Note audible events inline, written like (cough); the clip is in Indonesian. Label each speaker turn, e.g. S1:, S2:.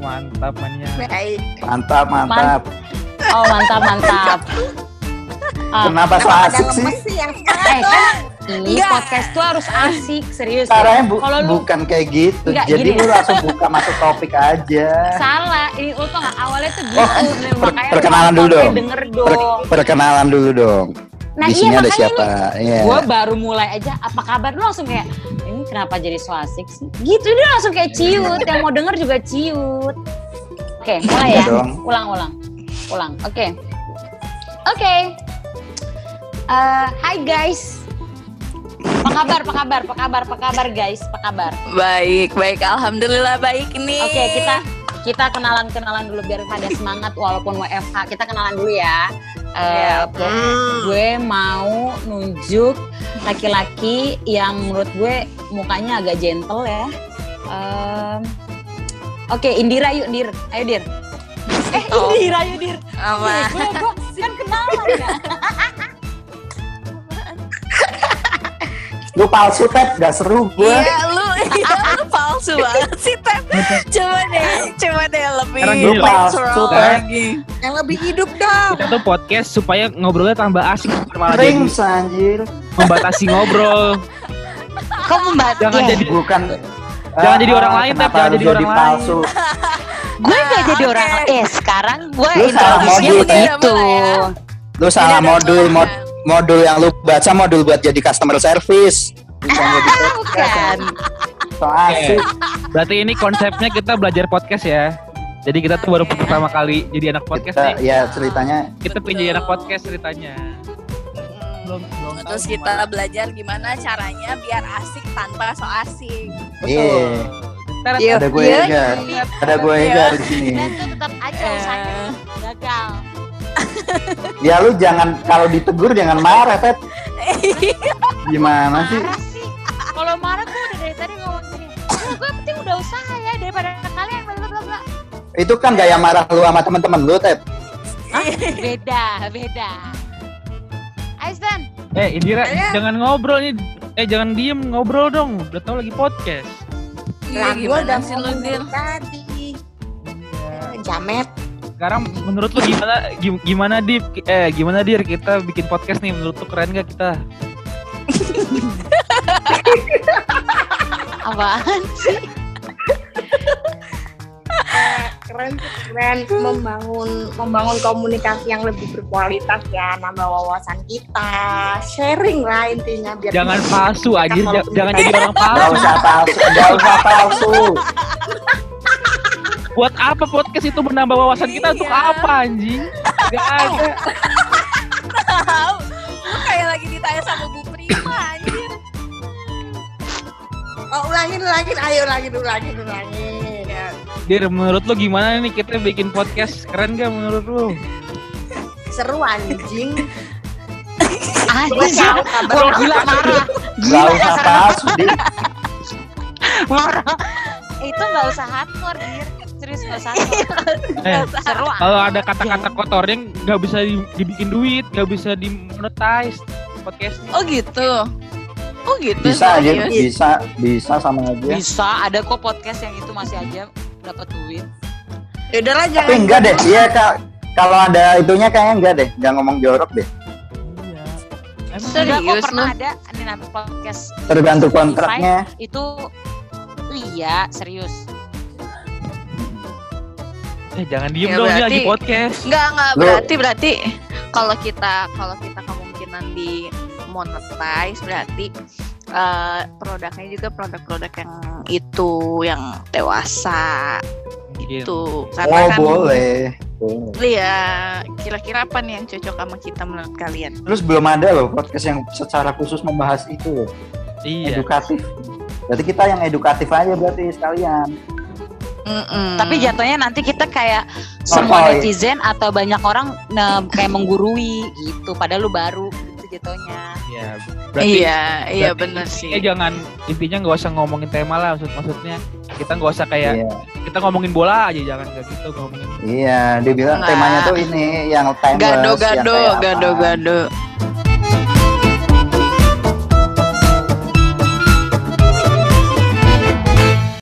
S1: mantap mania.
S2: Baik.
S3: Mantap, mantap.
S4: Oh mantap mantap. Ah,
S3: Kenapa so
S2: Kalau ada
S3: asik sih?
S2: lemes sih
S5: ya.
S2: yang
S4: eh kan ini
S2: Enggak.
S4: podcast tuh harus asik serius. ya.
S3: Caranya bu-
S4: Kalau lu
S3: bukan kayak gitu.
S4: Enggak,
S3: Jadi
S4: gini.
S3: lu langsung buka masuk topik aja.
S4: salah, ini lu tuh nggak awalnya tuh gitu.
S3: Oh,
S4: Nah,
S3: per-
S4: makanya
S3: perkenalan dulu
S4: sampai
S3: dong.
S4: Denger
S3: Per-
S4: dong.
S3: perkenalan dulu dong.
S4: Nah,
S3: Di
S4: iya,
S3: sini ada
S4: makanya
S3: siapa? Iya.
S4: Gue baru mulai aja, apa kabar? Lu langsung kayak, ini kenapa jadi so asik sih? Gitu, dia langsung kayak ciut. Yang mau denger juga ciut. Oke, mulai
S3: Iya
S4: ya.
S3: dong.
S4: Ulang, ulang. Ulang, oke. Oke. Eh, Hai guys. Apa kabar, apa kabar, apa kabar, apa kabar guys, apa kabar?
S2: Baik, baik. Alhamdulillah baik nih.
S4: Oke, kita kita kenalan-kenalan dulu biar pada semangat walaupun WFH. Kita kenalan dulu ya. Eh, Gue mau nunjuk laki-laki yang menurut gue mukanya agak gentle ya. Em, Oke, Indira yuk, Dir. Ayo, Dir. Eh,
S2: Oh.
S4: Indira yuk, Dir.
S2: Apa?
S4: Ih, Gue, gue kan kenalan ya.
S3: Lu palsu tep, gak seru gue.
S2: Iya lu, iya lu palsu banget sih Tep. Coba deh, coba deh lebih
S1: Sekarang
S3: Lu
S1: gini loh.
S3: palsu
S2: natural
S3: tep.
S2: lagi.
S5: Yang lebih hidup dong.
S1: Kita tuh podcast supaya ngobrolnya tambah asik bukan malah jadi
S3: Rings anjir.
S1: membatasi ngobrol.
S5: Kok membantu?
S1: Jangan jadi
S3: Bukan
S1: Jangan
S3: Ah,
S1: jadi orang lain, Tep.
S3: kenapa
S1: Jangan
S3: lu
S1: jadi orang lain.
S3: palsu.
S5: Gue gak jadi
S2: oke.
S5: orang. Eh sekarang gue
S3: Lu salah
S5: introduksinya
S3: modul, Teh.
S5: begitu.
S4: ya?
S3: Lu salah
S2: ada
S3: modul,
S2: celahnya.
S3: mod- modul yang lu baca modul buat jadi customer service. Bukan
S4: (laughs)
S3: jadi
S5: Bukan.
S3: so (laughs)
S1: Iya,
S3: asik.
S1: Berarti ini konsepnya kita belajar podcast ya. Jadi kita tuh baru pertama kali jadi anak
S3: Iya.
S1: podcast
S3: Kita,
S1: nih.
S3: ya ceritanya
S1: Kita pengen jadi anak podcast ceritanya. Belum, belum tahu
S2: Terus
S1: gimana.
S2: kita belajar gimana caranya biar asik tanpa so asik.
S3: Iya.
S1: Teret,
S5: Iya.
S3: ada gue
S5: Iya,
S3: juga.
S1: teret.
S3: Ada gue
S2: Iya.
S3: juga di sini.
S4: Dan tuh tetap aja usahanya gagal.
S3: Ya lu jangan kalau ditegur jangan marah, Pet. Gimana sih?
S4: Marah sih. Kalau marah gue udah dari tadi ngomong gini. "Aduh, Gue penting udah usaha ya daripada kalian bla bla bla bla.
S3: Itu kan gaya marah lu sama temen-temen lu, Tep.
S4: Beda, beda. Ayo Stan.
S1: Eh Indira, jangan ngobrol nih. Eh jangan diem, ngobrol dong. Udah tau lagi podcast.
S2: Iya,
S5: gue udah
S2: gimana sih lu
S5: ngomong
S2: Dir?
S5: dari tadi. Jamet.
S1: Sekarang menurut lu gimana gim- gimana Dip? Eh gimana Dir kita bikin podcast nih? Menurut lu keren gak kita?
S4: Apaan?
S5: Keren, keren. Membangun membangun komunikasi yang lebih berkualitas ya. Nambah wawasan kita. Sharing lah intinya. Biar
S1: Jangan palsu anjir,
S5: Iya. Kita
S1: Ja-
S5: kalau
S1: jangan jadi orang
S3: Gak
S1: palsu.
S3: usah palsu, gak usah palsu.
S1: Buat apa podcast itu menambah wawasan kita untuk
S2: Iya.
S1: apa anjing? Gak ada.
S2: Tahu. Lu kayak lagi ditanya sama Bu Prima anjir.
S5: Oh ulangin, ulangin. Ayo ulangin, ulangin, ulangin. Ya,
S1: Dir, menurut lu gimana nih kita bikin podcast? Keren gak menurut lu?
S5: Seru anjing.
S4: Anjir. Wah, gila marah.
S3: Gak usah palsu, Dir.
S4: Marah. Itu nggak usah hardcore, Dir. Serius nggak usah. hardcore.
S1: Eh,
S2: Iya.
S4: Seru. ah.
S1: kalau ada kata-kata kotornya nggak bisa di- dibikin duit, nggak bisa dimonetize podcastnya.
S2: Oh gitu. Oh gitu.
S3: Bisa Iya. aja,
S2: serius?
S3: bisa, bisa sama aja.
S4: Bisa, ada kok podcast yang itu masih aja dapat duit.
S5: Yaudah lah
S3: Tapi
S5: jangan.
S3: enggak deh, iya Kak. Kalau ada itunya kayaknya enggak deh, jangan ngomong jorok deh.
S1: Iya. Emang
S2: Serius,
S4: Enggak kok pernah
S2: lu?
S4: ada ini nama podcast
S3: Tergantung
S4: Spotify,
S3: kontraknya.
S4: Itu iya, serius.
S1: Eh jangan diem
S2: Ya,
S1: dong ini
S2: berarti-
S1: lagi podcast.
S2: Enggak, enggak.
S3: Lu-
S2: Berarti berarti kalau kita kalau kita kemungkinan di monetize berarti eh, produknya juga produk-produk yang itu yang dewasa
S1: Mungkin.
S2: tuh karena
S3: Oh,
S2: kan
S3: boleh. Boleh.
S2: Iya, kira-kira apa nih yang cocok sama kita menurut kalian?
S3: Terus belum ada loh podcast yang secara khusus membahas itu loh,
S1: Iya.
S3: edukatif. Berarti kita yang edukatif aja berarti sekalian.
S4: Tapi jatuhnya nanti kita kayak
S3: Hmm. Oh,
S4: semua
S3: iya.
S4: netizen atau banyak orang ne- kayak menggurui gitu. Padahal lu baru gitu jatuhnya.
S1: Iya.
S2: iya, iya
S1: berarti
S2: bener
S1: intinya
S2: sih.
S1: jangan intinya nggak usah ngomongin tema lah maksud maksudnya kita nggak usah kayak
S3: Iya.
S1: kita ngomongin bola aja jangan nggak gitu ngomongin
S3: Iya, dia bilang
S2: Nggak.
S3: temanya tuh ini yang timeless. yang
S2: Gado-gado,
S3: kayak apa.
S2: gado-gado.